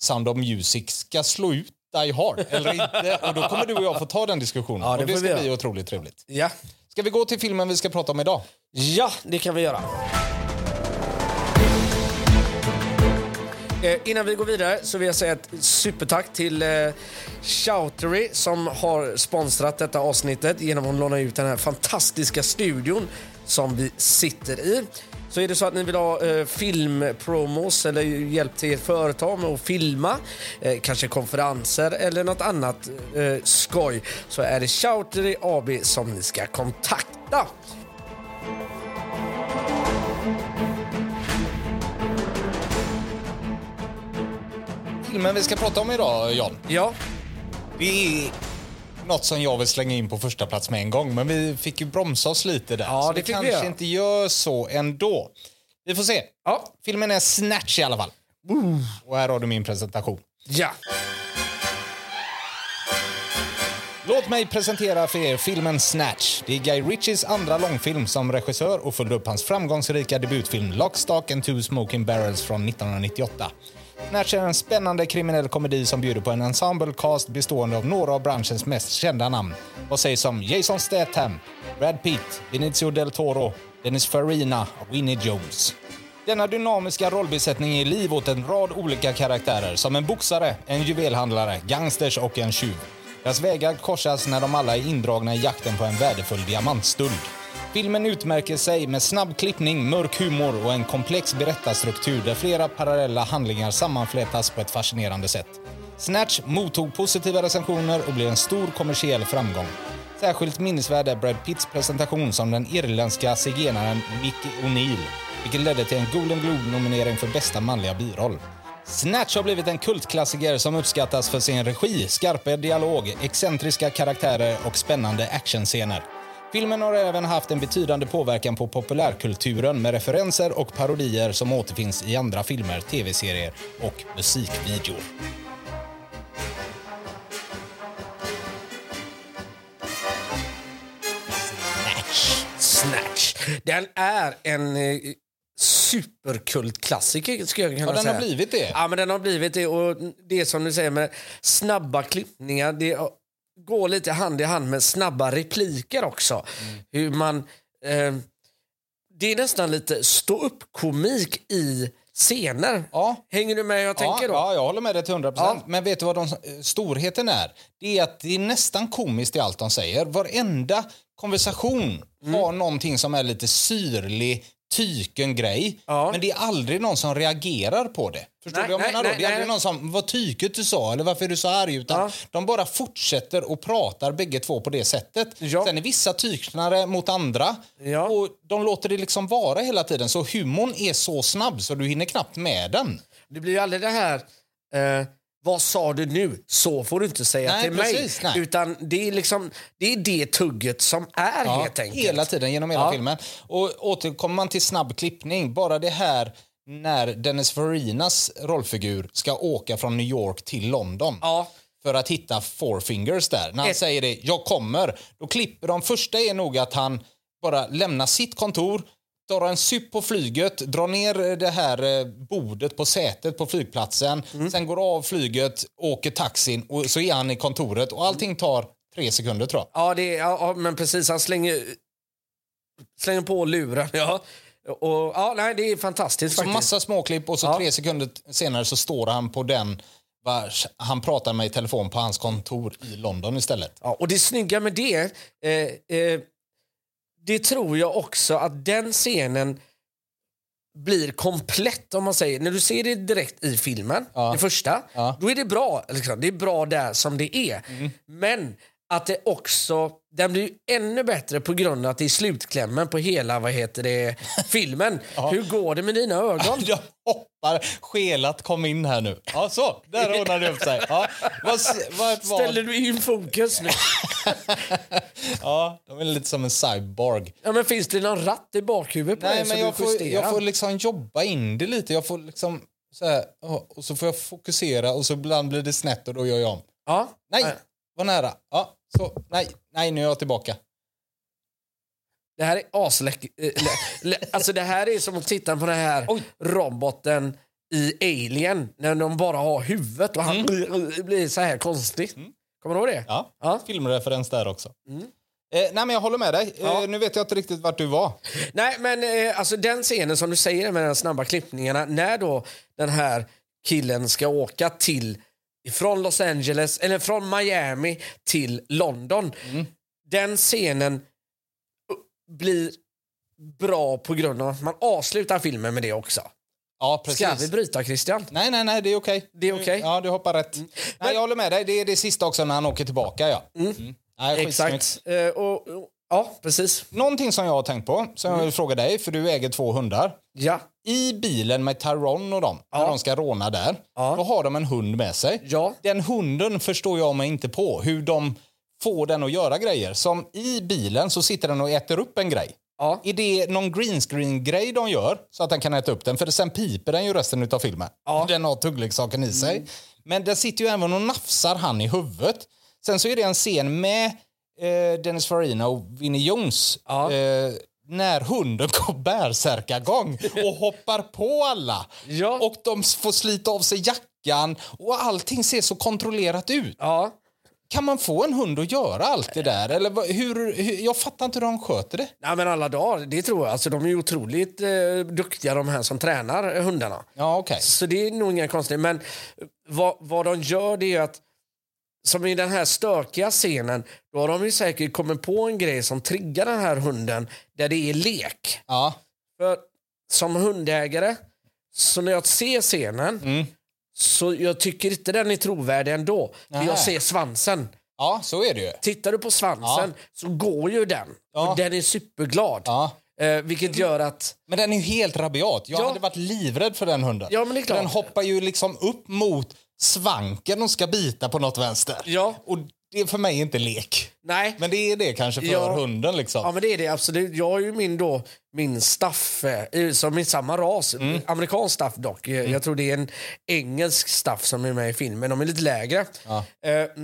S1: Sound of Music ska slå ut Die Hard, eller inte. Och då kommer du och jag få ta den diskussionen.
S2: Ja, det
S1: och det
S2: får vi
S1: ska
S2: göra.
S1: bli otroligt trevligt.
S2: Ja.
S1: Ska vi gå till filmen vi ska prata om idag?
S2: Ja, det kan vi göra. Eh, Innan vi går vidare så vill jag säga ett supertack till eh, Shoutery som har sponsrat detta avsnittet genom att låna ut den här fantastiska studion som vi sitter i. Så är det så att ni vill ha eh, filmpromos eller hjälp till ert företag med att filma, eh, kanske konferenser eller något annat eh, skoj så är det Shoutery AB som ni ska kontakta.
S1: Filmen vi ska prata om idag, John,
S2: Ja,
S1: Det är något som jag vill slänga in på första plats med en gång, men vi fick ju bromsa oss lite där.
S2: Ja,
S1: så
S2: det fick vi
S1: kanske
S2: göra.
S1: inte gör så ändå. Vi får se.
S2: Ja.
S1: Filmen är Snatch i alla fall. Och här har du min presentation.
S2: Ja.
S1: Låt mig presentera för er filmen Snatch. Det är Guy Ritchies andra långfilm som regissör och följde upp hans framgångsrika debutfilm Lockstock and two smoking barrels från 1998. Snatch är en spännande kriminell komedi som bjuder på en ensemble cast bestående av några av branschens mest kända namn. Vad sägs om Jason Statham, Brad Pitt, Benicio del Toro, Dennis Farina och Winnie Jones. Denna dynamiska rollbesättning ger liv åt en rad olika karaktärer som en boxare, en juvelhandlare, gangsters och en tjuv. Deras vägar korsas när de alla är indragna i jakten på en värdefull diamantstöld. Filmen utmärker sig med snabb klippning, mörk humor och en komplex berättarstruktur där flera parallella handlingar sammanflätas på ett fascinerande sätt. Snatch mottog positiva recensioner och blev en stor kommersiell framgång. Särskilt minnesvärd är Brad Pitts presentation som den irländska zigenaren Mickey O'Neill, vilket ledde till en Golden Globe-nominering för bästa manliga biroll. Snatch har blivit en kultklassiker som uppskattas för sin regi, skarpa dialog, excentriska karaktärer och spännande actionscener. Filmen har även haft en betydande påverkan på populärkulturen med referenser och parodier som återfinns i andra filmer, tv-serier och musikvideor. Snatch.
S2: Snatch. Den är en eh, superkultklassiker skulle jag kunna
S1: Ja, den
S2: säga.
S1: har blivit det.
S2: Ja, men den har blivit det. Och det är som du säger med snabba klippningar. Det går lite hand i hand med snabba repliker också.
S1: Mm.
S2: Hur man... Eh, det är nästan lite stå upp komik i scener.
S1: Ja.
S2: Hänger du med hur jag tänker
S1: ja,
S2: då?
S1: ja, jag håller med dig till 100
S2: Ja.
S1: Men vet du vad de, eh, storheten är? Det är att det är nästan komiskt i allt de säger. Varenda konversation
S2: Mm.
S1: har någonting som är lite syrlig, tyken grej.
S2: Ja.
S1: Men det är aldrig någon som reagerar på det. Förstår
S2: Nej,
S1: du vad jag menar?
S2: nej,
S1: då?
S2: nej,
S1: det är aldrig
S2: nej.
S1: någon som, vad tyket du sa eller varför är du så arg? Utan
S2: Ja.
S1: de bara fortsätter och pratar bägge två på det sättet.
S2: Ja.
S1: Sen är vissa tyknare mot andra.
S2: Ja.
S1: Och de låter det liksom vara hela tiden. Så humorn är så snabb så du hinner knappt med den.
S2: Det blir ju aldrig det här... Eh, vad sa du nu? Så får du inte säga
S1: Nej,
S2: till
S1: precis,
S2: mig.
S1: nej.
S2: Utan det är, liksom, det är det tugget som är
S1: Ja,
S2: helt enkelt.
S1: Hela tiden genom hela
S2: Ja.
S1: filmen. Och återkommer man till snabb klippning, bara det här när Dennis Farinas rollfigur ska åka från New York till London.
S2: Ja.
S1: För att hitta Four Fingers där. När han
S2: Ett-
S1: säger det, jag kommer. Då klipper de första är nog att han bara lämnar sitt kontor, tar en sup på flyget, drar ner det här eh, bordet på sätet på flygplatsen.
S2: Mm.
S1: Sen går av flyget, åker taxin och så är han i kontoret. Och allting tar tre sekunder tror jag.
S2: Ja, det är, ja, ja, men precis. Han slänger, slänger på luren. Ja. Och, ja, nej, det är fantastiskt.
S1: Så
S2: Faktiskt.
S1: massa småklipp och så tre sekunder t- senare så står han på den vars han pratar med i telefon på hans kontor i London istället.
S2: Ja, och det snygga med det, eh, eh, det tror jag också att den scenen blir komplett om man säger. När du ser det direkt i filmen, det första,
S1: Ja. Mm.
S2: då är det bra. Liksom. Det är bra där som det är. Men att det också, den blir ju ännu bättre på grund av att det är slutklämmen på hela, vad heter det, filmen. Hur går det med dina ögon?
S1: Jag hoppar, skelat kom in här nu. Ja, så, där ordnar det upp sig. Ja, vad, s- vad ett val.
S2: Ställer du in fokus nu?
S1: Ja, de är lite som en cyborg.
S2: Ja, men finns det någon ratt i bakhuvudet på dig
S1: Nej,
S2: som
S1: men
S2: du
S1: jag får,
S2: justerar?
S1: jag får liksom jobba in det lite. Jag får liksom så här, ja, och så får jag fokusera och så ibland blir det snett och då gör jag om.
S2: ja?
S1: Nej, var nära. Ja, så, nej, nej, nu är jag tillbaka.
S2: Det här är asläck... eh, lä- lä- Alltså det här är som att titta på den här roboten i Alien när de bara har huvudet och han blir så här konstigt. Kommer du ihåg det?
S1: Ja,
S2: Ja. Mm.
S1: filmreferens där också. Eh, nej, men jag håller med dig. Eh, nu vet jag inte riktigt vart du var.
S2: Nej, men eh, alltså den scenen som du säger med de snabba klippningarna när då den här killen ska åka till från Los Angeles eller från Miami till London. Den scenen eh, blir bra på grund av att man avslutar filmen med det också.
S1: Ja, precis.
S2: Ska vi bryta Christian?
S1: Nej, nej, nej, det är okej. Mm.
S2: Det är okej? Mm.
S1: Ja, du hoppar rätt. Nej, jag håller med dig. Det är det sista också när han åker tillbaka, ja. Mm. Nej,
S2: Exakt.
S1: Exakt.
S2: Eh, och, och, ja, precis.
S1: Någonting som jag har tänkt på, som
S2: Mm.
S1: jag vill fråga dig, för du äger två hundar.
S2: Ja.
S1: I bilen med Tyrone och dem, när de ska råna där, då har de en hund med sig.
S2: Ja.
S1: Den hunden förstår jag mig inte på, hur de får den att göra grejer. Som i bilen så sitter den och äter upp en grej.
S2: Ja.
S1: Är det någon greenscreen-grej de gör så att den kan äta upp den? För sen piper den ju resten av filmen. Den har tuggleksaken i sig. Men den sitter ju även och nafsar han i huvudet. Sen så är det en scen med eh, Dennis Farina och Vinnie Jones.
S2: Ja.
S1: Eh, när hunden går bärsärkagång och hoppar på alla.
S2: Ja.
S1: Och de får slita av sig jackan och allting ser så kontrollerat ut.
S2: ja.
S1: Kan man få en hund att göra allt det där? Eller vad- hur, hur, jag fattar inte hur de sköter det.
S2: Nej, men alla dagar, det tror jag. Alltså, de är ju otroligt eh, duktiga de här som tränar eh, hundarna.
S1: Ja, okej.
S2: Så det är nog inga konstigheter. Men eh, vad, vad de gör det är att som i den här stökiga scenen, då har de ju säkert kommit på en grej som triggar den här hunden där det är lek.
S1: Ja.
S2: För som hundägare, så när jag ser scenen
S1: Mm.
S2: så jag tycker inte den är trovärdig ändå. För
S1: Nej.
S2: jag ser svansen.
S1: ja, så är det ju.
S2: Tittar du på svansen så går ju den.
S1: Ja.
S2: Och den är superglad.
S1: Ja.
S2: Eh, vilket gör att...
S1: Men den är ju helt rabiat. Jag
S2: Ja.
S1: hade varit livrädd för den hunden.
S2: Ja, men det är
S1: För
S2: klart.
S1: Den hoppar ju liksom upp mot svanken och ska bita på något vänster.
S2: Ja.
S1: Och det är för mig inte lek.
S2: Nej.
S1: Men det är det kanske för
S2: Ja.
S1: hunden liksom.
S2: Ja men det är det absolut. Jag har ju min då, min staffe, eh, som är samma ras.
S1: Mm.
S2: Amerikansk staff dock. Eh, Jag, jag tror det är en engelsk staff som är med i filmen. De är lite lägre. Eh,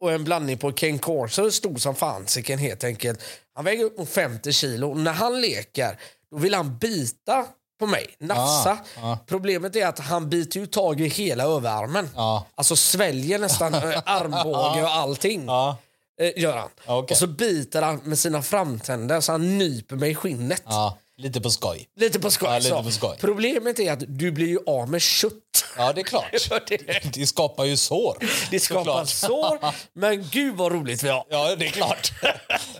S2: och en blandning på Ken Corso, stor som fansiken helt enkelt. Han väger upp mot 50 kilo. Och när han leker, då vill han bita på mig,
S1: Ah,
S2: nafsa. Problemet är att han biter ju tag i hela överarmen.
S1: Ja.
S2: Alltså sväljer nästan eh, armbåge och allting.
S1: Ja.
S2: Eh, gör han.
S1: Ja, okej.
S2: Och så biter han med sina framtänder så han nyper mig i skinnet.
S1: Ja, lite på skoj.
S2: Lite på skoj.
S1: Ja, lite
S2: så.
S1: på skoj.
S2: Problemet är att du blir ju av med kött.
S1: Ja, det är klart.
S2: För det,
S1: Det skapar ju sår.
S2: det skapar
S1: såklart.
S2: sår. Men gud vad roligt vi har.
S1: Ja, det är klart.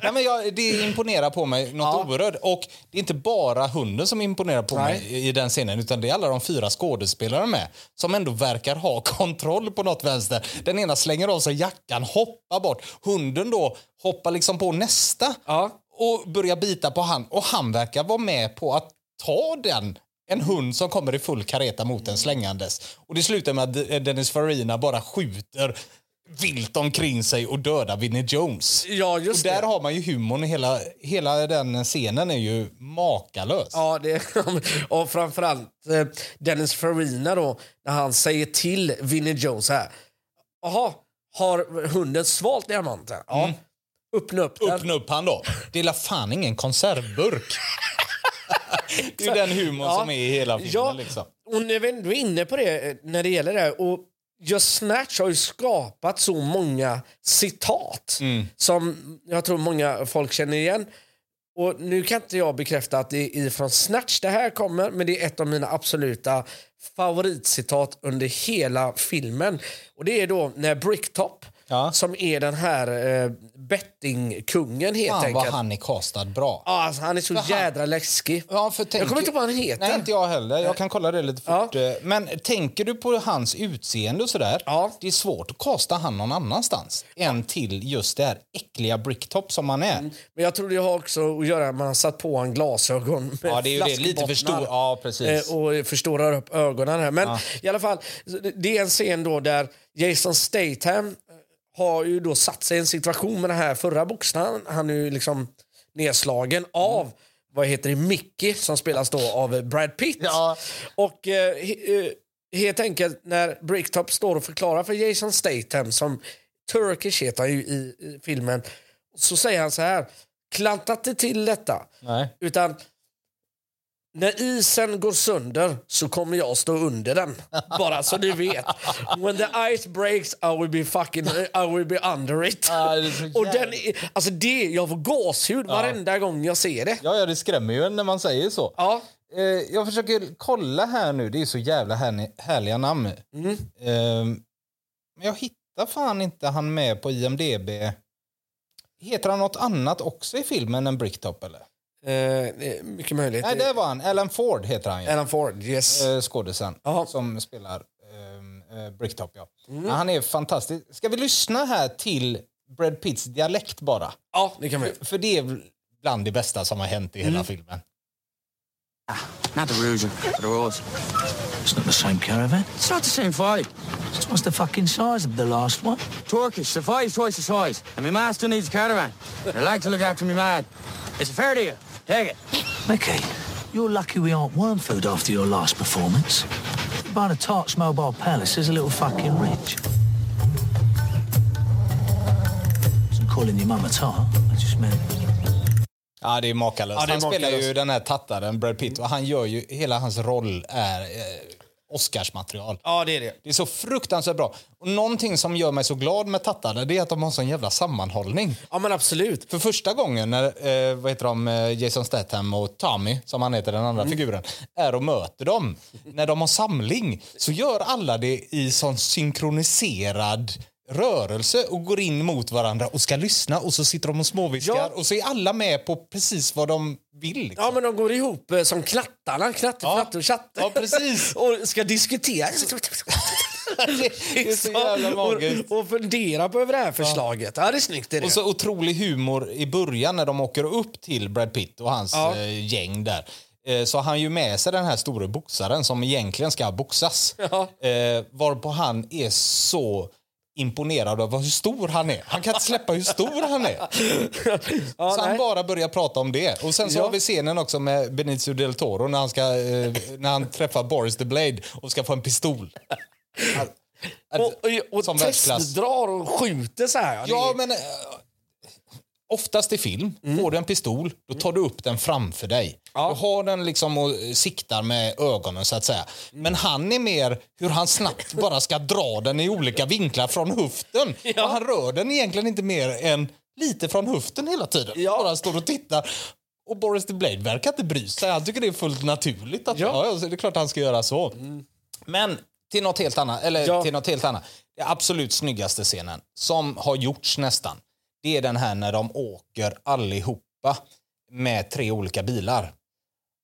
S1: Nej, men jag, det imponerar på mig något oerhört. Och det är inte bara hunden som imponerar på
S2: Nej.
S1: mig i- i den scenen utan det är alla de fyra skådespelarna med som ändå verkar ha kontroll på något vänster. Den ena slänger av sig jackan, hoppar bort. Hunden då hoppar liksom på nästa
S2: Ja.
S1: och börjar bita på han. Och han verkar vara med på att ta den. En hund som kommer i full kareta mot en slängandes. Och det slutar med att D- Dennis Farina bara skjuter vilt omkring sig och dödar Vinnie Jones.
S2: Ja,
S1: Och
S2: just
S1: där
S2: det.
S1: har man ju humorn i hela, hela den scenen är ju makalös.
S2: Ja, det, och framförallt eh, Dennis Farina då, när han säger till Vinnie Jones så här. Jaha, har hunden svalt diamanten? Ja. Öppna upp den.
S1: Mm. Öppna upp han då. Det är la fan ingen konservburk. det är ju den humorn
S2: Ja.
S1: som är i hela filmen.
S2: Ja.
S1: Liksom.
S2: Och när vi ändå är inne på det, eh, när det gäller det här, och just Snatch har ju skapat så många citat
S1: Mm.
S2: som jag tror många folk känner igen. Och nu kan inte jag bekräfta att det är ifrån Snatch det här kommer, men det är ett av mina absoluta favoritcitat under hela filmen. Och det är då när Bricktop,
S1: Ja.
S2: som är den här eh, bettingkungen helt
S1: Fan vad
S2: enkelt.
S1: han är castad bra.
S2: Ja, alltså, han är så jädra läskig.
S1: Ja, för tänk...
S2: Jag kommer inte på vad han heter.
S1: Nej, inte jag heller. Jag kan kolla det lite
S2: Ja.
S1: fort. Eh, Men tänker du på hans utseende och sådär,
S2: Ja.
S1: det är svårt att kasta han någon annanstans än till just det här äckliga bricktop som han är.
S2: Men jag tror det har också att göra med att man har satt på en glasögon med
S1: Ja, det är ju det. Lite för stor.
S2: flaskbottnar,
S1: Ja, precis.
S2: eh, Och förstorar upp ögonen här. Men i alla fall, det är en scen då där Jason Statham eh, har ju då satt sig i en situation med den här förra boxaren. Han är ju liksom
S1: Mm.
S2: nedslagen av vad heter det, Mickey som spelas då av eh, Brad Pitt.
S1: Ja.
S2: Och eh, he- eh, helt enkelt när Bricktop står och förklarar för Jason Statham som Turkish heter han ju i, i filmen så säger han så här klanta inte till detta
S1: Nej.
S2: utan när isen går sönder så kommer jag stå under den. Bara så ni vet. When the ice breaks I will be fucking I will be under it.
S1: Ja, det är så
S2: och den,
S1: jävla-
S2: är- alltså det, jag får gåshud varenda gång jag ser det.
S1: Ja, ja, det skrämmer ju en när man säger så.
S2: Ja.
S1: Eh, jag försöker kolla här nu. Det är så jävla härni- härliga namn.
S2: Mm.
S1: Ehm, men jag hittar fan inte han med på IMDB. Heter han något annat också i filmen än Bricktop? Eller?
S2: Eh, det är mycket möjligt.
S1: Nej, det var han. Alan Ford heter han ju.
S2: Alan Ford, yes.
S1: Eh, skådisen
S2: Jaha. Mm.
S1: som spelar ehm, eh, Bricktop. Ja. Ja, han är fantastisk. Ska vi lyssna här till Brad Pitts dialekt bara?
S2: ja, det kan vi.
S1: För det är bland det bästa som har hänt i
S2: Mm.
S1: hela filmen.
S4: Not the Rouge, the Rose.
S5: It's not the same caravan.
S4: It's not the same fight.
S5: It's twice the fucking size of the last one.
S4: Turkish, the fight is twice the size, and my ma still needs a caravan. And I like to look after my man. It's a fair deal. Take it.
S5: Mickey, you're lucky we aren't worm food after your last performance. Buying a Tarts Mobile Palace is a little fucking rich. Wasn't calling your mum a tart. I just meant...
S1: Ja, det är makalöst.
S2: Ja, det är
S1: han spelar
S2: makalöst.
S1: ju den här tattaren Brad Pitt och han gör ju, hela hans roll är eh, Oscarsmaterial.
S2: Ja, det är det.
S1: Det är så fruktansvärt bra. Och någonting som gör mig så glad med Tattarna det är att de har sån jävla sammanhållning.
S2: Ja, men absolut.
S1: För första gången när eh, vad heter de, eh, Jason Statham och Tommy, som han heter den andra figuren, är och möter dem, när de har samling så gör alla det i sån synkroniserad rörelse och går in mot varandra och ska lyssna och så sitter de och småviskar
S2: Ja.
S1: och så är alla med på precis vad de vill. Liksom.
S2: Ja, men de går ihop eh, som knattarna. Knatte,
S1: Ja.
S2: fnatte och chatte.
S1: Ja, precis.
S2: och ska diskutera.
S1: Det är så jävla magiskt.
S2: och, och fundera på över det här förslaget. Ja, det är snyggt. Det är det.
S1: Och så otrolig humor i början när de åker upp till Brad Pitt och hans
S2: Ja.
S1: eh, gäng där. Eh, så har han ju med sig den här stora boxaren som egentligen ska boxas.
S2: Ja.
S1: Eh, varpå han är så imponerad av hur stor han är. Han kan inte släppa hur stor han är.
S2: ja,
S1: så han
S2: nej.
S1: bara börjar prata om det. Och sen så
S2: Ja.
S1: har vi scenen också med Benicio del Toro när han, ska, eh, när han träffar Boris the Blade och ska få en pistol. Alltså,
S2: och, och, och
S1: Som världsklass.
S2: testdrar och skjuter så här. det
S1: Ja,
S2: är- Mm.
S1: men... eh, Oftast i film, får du en pistol, då tar du upp den framför dig. Du har den liksom och eh, siktar med ögonen så att säga.
S2: Mm.
S1: Men han är mer hur han snabbt bara ska dra den i olika vinklar från höften. Och han rör den egentligen inte mer än lite från höften hela tiden.
S2: Ja.
S1: Bara står och tittar. Och Boris the Blade verkar inte bry sig. Han tycker det är fullt naturligt. Att,
S2: Ja.
S1: ja. Ja, så det är klart han ska göra så. Men till något helt annat. Eller
S2: Ja.
S1: till något helt annat. Det absolut snyggaste scenen, som har gjorts nästan, det är den här när de åker allihopa med tre olika bilar.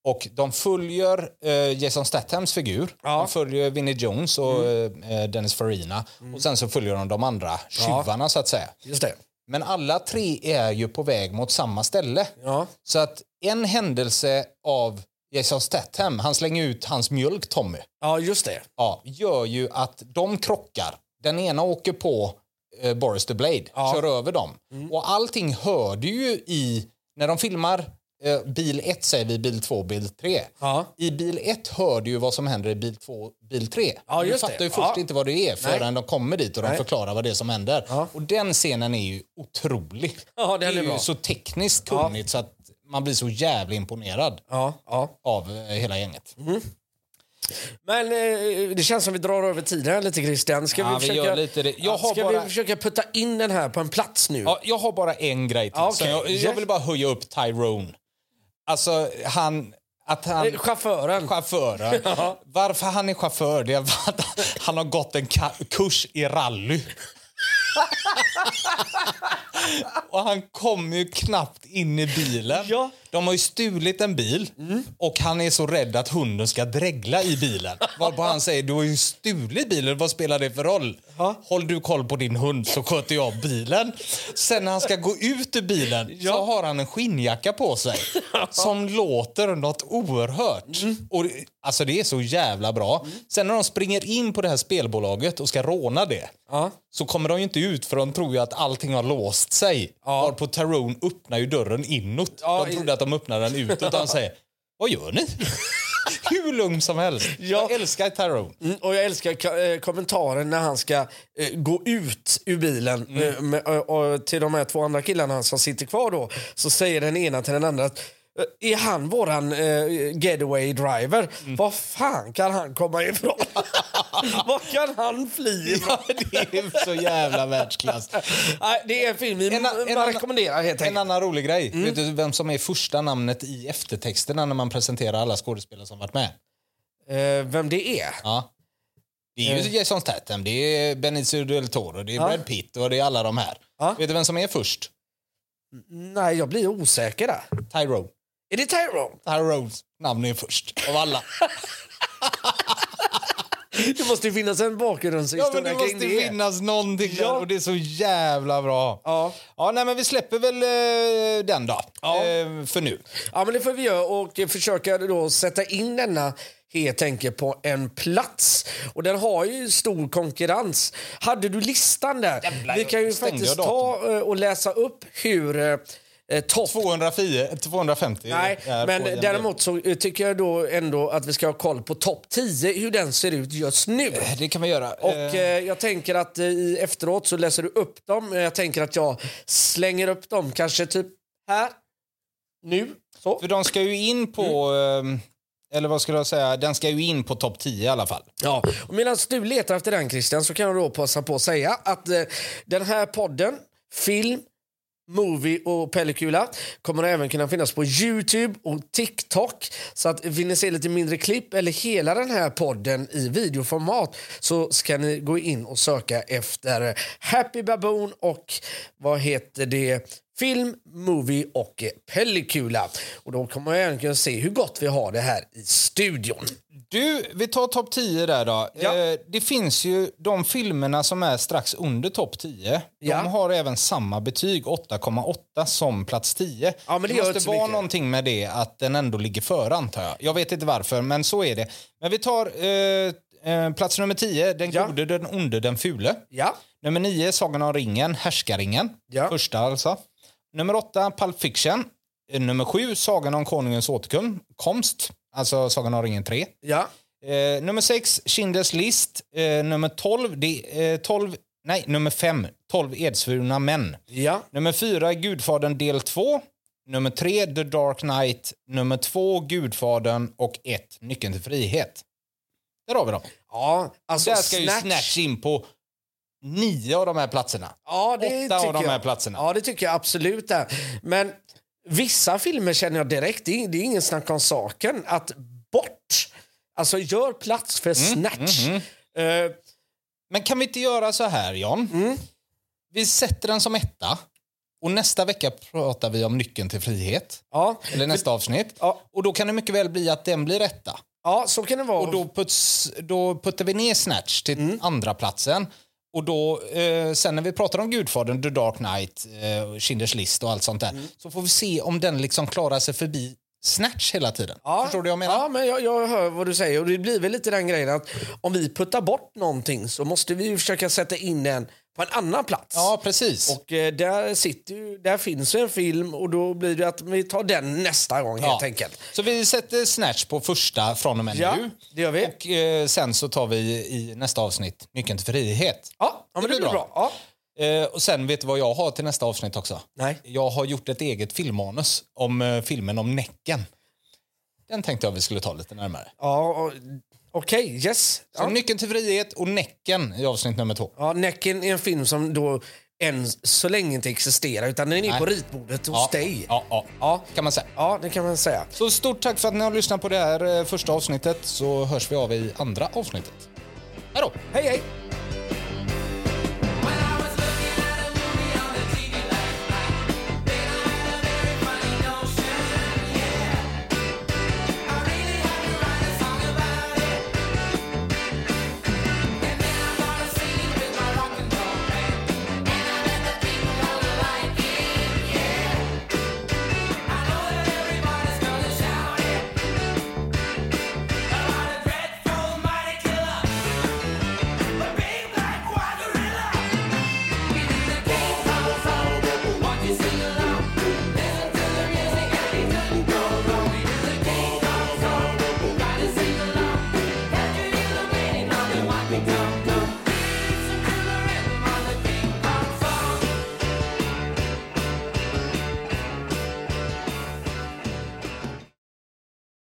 S1: Och de följer eh, Jason Stathams figur,
S2: Ja. Mm.
S1: de följer Vinnie Jones och eh, Dennis Farina och sen så följer de de andra tjuvarna så att säga.
S2: Just det.
S1: Men alla tre är ju på väg mot samma ställe.
S2: Ja.
S1: Så att en händelse av Jason Statham, han slänger ut hans mjölk Tommy,
S2: ja, just det.
S1: ja, gör ju att de krockar. Den ena åker på eh, Boris the Blade, kör över dem.
S2: Mm.
S1: Och allting hör du ju i, när de filmar eh, bil 1 säger vi, bil 2, bil 3.
S2: Ja.
S1: I bil 1 hör du ju vad som händer i bil 2, bil 3.
S2: Ja,
S1: du
S2: just
S1: fattar
S2: det.
S1: ju först
S2: Ja.
S1: inte vad det är förrän de kommer dit och de
S2: Nej.
S1: förklarar vad det är som händer. Och den scenen är ju otrolig.
S2: Ja,
S1: det
S2: den
S1: är
S2: är
S1: ju
S2: bra.
S1: så tekniskt kunnigt så att man blir så jävla imponerad
S2: Ja, ja.
S1: av eh, hela gänget.
S2: Men eh, det känns som vi drar över tiden här lite Christian. Ska
S1: Ja, vi
S2: vi försöka,
S1: gör lite det. Jag
S2: Ja,
S1: har
S2: ska
S1: bara-
S2: vi försöka putta in den här på en plats nu?
S1: Ja, jag har bara en grej till.
S2: Ja, okej.
S1: Så jag, jag
S2: Yes.
S1: vill bara höja upp Tyrone. Alltså, han... Att han...
S2: Eh, Chauffören.
S1: Chauffören. Varför han är chaufför det är för att han har gått en ka- kurs i rally. och han kommer ju knappt in i bilen.
S2: Ja.
S1: De har ju stulit en bil och han är så rädd att hunden ska dregla i bilen. Varpå han säger du har ju stulit bilen, vad spelar det för roll? Håll du koll på din hund så sköter jag bilen. Sen när han ska gå ut ur bilen så har han en skinnjacka på sig som låter något oerhört.
S2: Mm.
S1: Och, det- alltså det är så jävla bra. Sen när de springer in på det här spelbolaget och ska råna det
S2: Ja.
S1: så kommer de ju inte ut för de tror ju att allting har låst sig.
S2: Ja.
S1: Varpå Tyrone öppnar ju dörren inåt.
S2: Ja,
S1: de
S2: i-
S1: trodde att de öppnade den utåt och han säger Vad gör ni? Hur lugn som helst.
S2: Ja.
S1: Jag älskar Tyrone.
S2: Mm, och jag älskar ka- eh, kommentaren när han ska eh, gå ut ur bilen
S1: Mm.
S2: eh, med, och, och, till de här två andra killarna som sitter kvar då. Så säger den ena till den andra att eh, är han våran eh, getaway driver?
S1: Mm.
S2: Var fan kan han komma ifrån? Var kan han fly ifrån?
S1: Det är så jävla världsklass.
S2: Nej, det är en film vi
S1: En a- en
S2: man
S1: annan-
S2: rekommenderar helt
S1: En
S2: enkelt.
S1: annan rolig grej. Vet du vem som är första namnet i eftertexterna när man presenterar alla skådespelare som varit med?
S2: Eh, vem det är?
S1: Ja. Det är ju Jason Statham, det är Benicio del Toro, det är
S2: Ja.
S1: Brad Pitt och det är alla de här.
S2: Ja.
S1: Vet du vem som är först?
S2: Nej, jag blir osäker där.
S1: Tyrone.
S2: Är det Tyrone?
S1: Tyrones namn är först av alla.
S2: Det måste ju finnas en
S1: ja,
S2: bakgrundshistoria
S1: men det
S2: kring
S1: måste
S2: det.
S1: finnas någonting där
S2: Ja.
S1: och det är så jävla bra.
S2: Ja.
S1: Ja, nej, men vi släpper väl eh, den då,
S2: Ja.
S1: eh, för nu.
S2: Ja, men det får vi göra och försöka då sätta in denna helt enkelt på en plats. Och den har ju stor konkurrens. Hade du listan där?
S1: Jävlar,
S2: vi
S1: jag
S2: kan ju
S1: stängde
S2: faktiskt
S1: datorn.
S2: ta eh, och läsa upp hur eh, eh, topp...
S1: 210, 250.
S2: Nej,
S1: är
S2: men
S1: på IMDb.
S2: däremot så eh, tycker jag då ändå att vi ska ha koll på topp 10, hur den ser ut just nu.
S1: Det kan vi göra.
S2: Och
S1: Eh,
S2: eh, jag tänker att eh, i efteråt så läser du upp dem. Eh, Jag tänker att jag slänger upp dem kanske typ här, nu, så. Mm.
S1: För de ska ju in på... ehm, Eller vad skulle jag säga? Den ska ju in på topp 10 i alla fall.
S2: Ja, och medan du letar efter den Christian så kan jag då passa på att säga att eh, den här podden, film, movie och pellikula kommer även kunna finnas på Youtube och TikTok. Så att vill ni se lite mindre klipp eller hela den här podden i videoformat så ska ni gå in och söka efter Happy Baboon och vad heter det? Film, movie och eh, pellikula. Och då kommer jag även kunna se hur gott vi har det här i studion.
S1: Du, vi tar topp 10 där då.
S2: Ja.
S1: Eh, det finns ju de filmerna som är strax under topp 10.
S2: Ja.
S1: De har även samma betyg, 8,8 som plats 10.
S2: Ja, men det gör inte
S1: måste
S2: så
S1: vara
S2: mycket.
S1: någonting med det att den ändå ligger före antar jag. Jag vet inte varför, men så är det. Men vi tar eh, eh, plats nummer 10, Den
S2: Ja.
S1: gode, den onde, den fule.
S2: Ja,
S1: Nummer 9, Sagan om ringen, Härskaringen.
S2: Ja.
S1: Första alltså. Nummer 8, Pulp Fiction. Eh, Nummer 7, Sagan om konungens återkomst. Alltså Sagan om ringen 3.
S2: ja.
S1: Eh, nummer 6, Schindler's list. Eh, nummer 12, det, eh, 12, nej, nummer 5, 12 edsvurna män.
S2: Ja,
S1: Nummer 4, Gudfadern del 2. Nummer 3, The Dark Knight. Nummer 2, Gudfadern. Och 1, Nyckeln till frihet. Där har vi dem.
S2: ja alltså
S1: Där ska ju
S2: Snatch.
S1: Snatch in på nio av de här platserna.
S2: ja, det
S1: åtta av
S2: tycker
S1: de här
S2: jag.
S1: platserna.
S2: Ja, det tycker jag absolut. Är. Men vissa filmer känner jag direkt, det är, det är ingen snack om saken, att bort. Alltså gör plats
S1: Mm,
S2: för Snatch. Eh,
S1: Men kan vi inte göra så här, Jan?
S2: Mm.
S1: Vi sätter den som etta. Och nästa vecka pratar vi om Nyckeln till frihet.
S2: ja.
S1: Eller nästa avsnitt.
S2: Ja.
S1: Och då kan det mycket väl bli att den blir etta.
S2: ja, Mm. så kan det vara.
S1: Och då, puts, då puttar vi ner Snatch till andra platsen. Och då, eh, sen när vi pratar om Gudfadern, The Dark Knight, eh, Schindler's list och allt sånt där.
S2: Mm.
S1: Så får vi se om den liksom klarar sig förbi Snatch hela tiden.
S2: Ja,
S1: Förstår du vad jag menar?
S2: Ja, men jag, jag hör vad du säger. Och det blir väl lite den grejen att om vi puttar bort någonting så måste vi ju försöka sätta in den på en annan plats.
S1: Ja, precis.
S2: Och eh, där, sitter ju, där finns ju en film och då blir det att vi tar den nästa gång helt
S1: Ja.
S2: enkelt.
S1: Så vi sätter Snatch på första från och med
S2: Ja,
S1: nu.
S2: det gör vi.
S1: Och eh, sen så tar vi i nästa avsnitt Nyckeln till frihet.
S2: Ja, ja men det blir bra. Ja.
S1: Eh, och sen vet du vad jag har till nästa avsnitt också?
S2: Nej.
S1: Jag har gjort ett eget filmmanus om eh, filmen om Näcken. Den tänkte jag vi skulle ta lite närmare.
S2: Ja, och- Okej, yes.
S1: Så
S2: Ja.
S1: Nyckeln till frihet och Näcken i avsnitt nummer två.
S2: Ja, Näcken är en film som då än så länge inte existerar utan den är på ritbordet hos
S1: Ja,
S2: dig.
S1: Ja, ja,
S2: Ja.
S1: kan man säga.
S2: ja, det kan man säga.
S1: Så stort tack för att ni har lyssnat på det här eh, första avsnittet så hörs vi av i andra avsnittet. Hej då!
S2: Hej, hej!
S6: Thank you.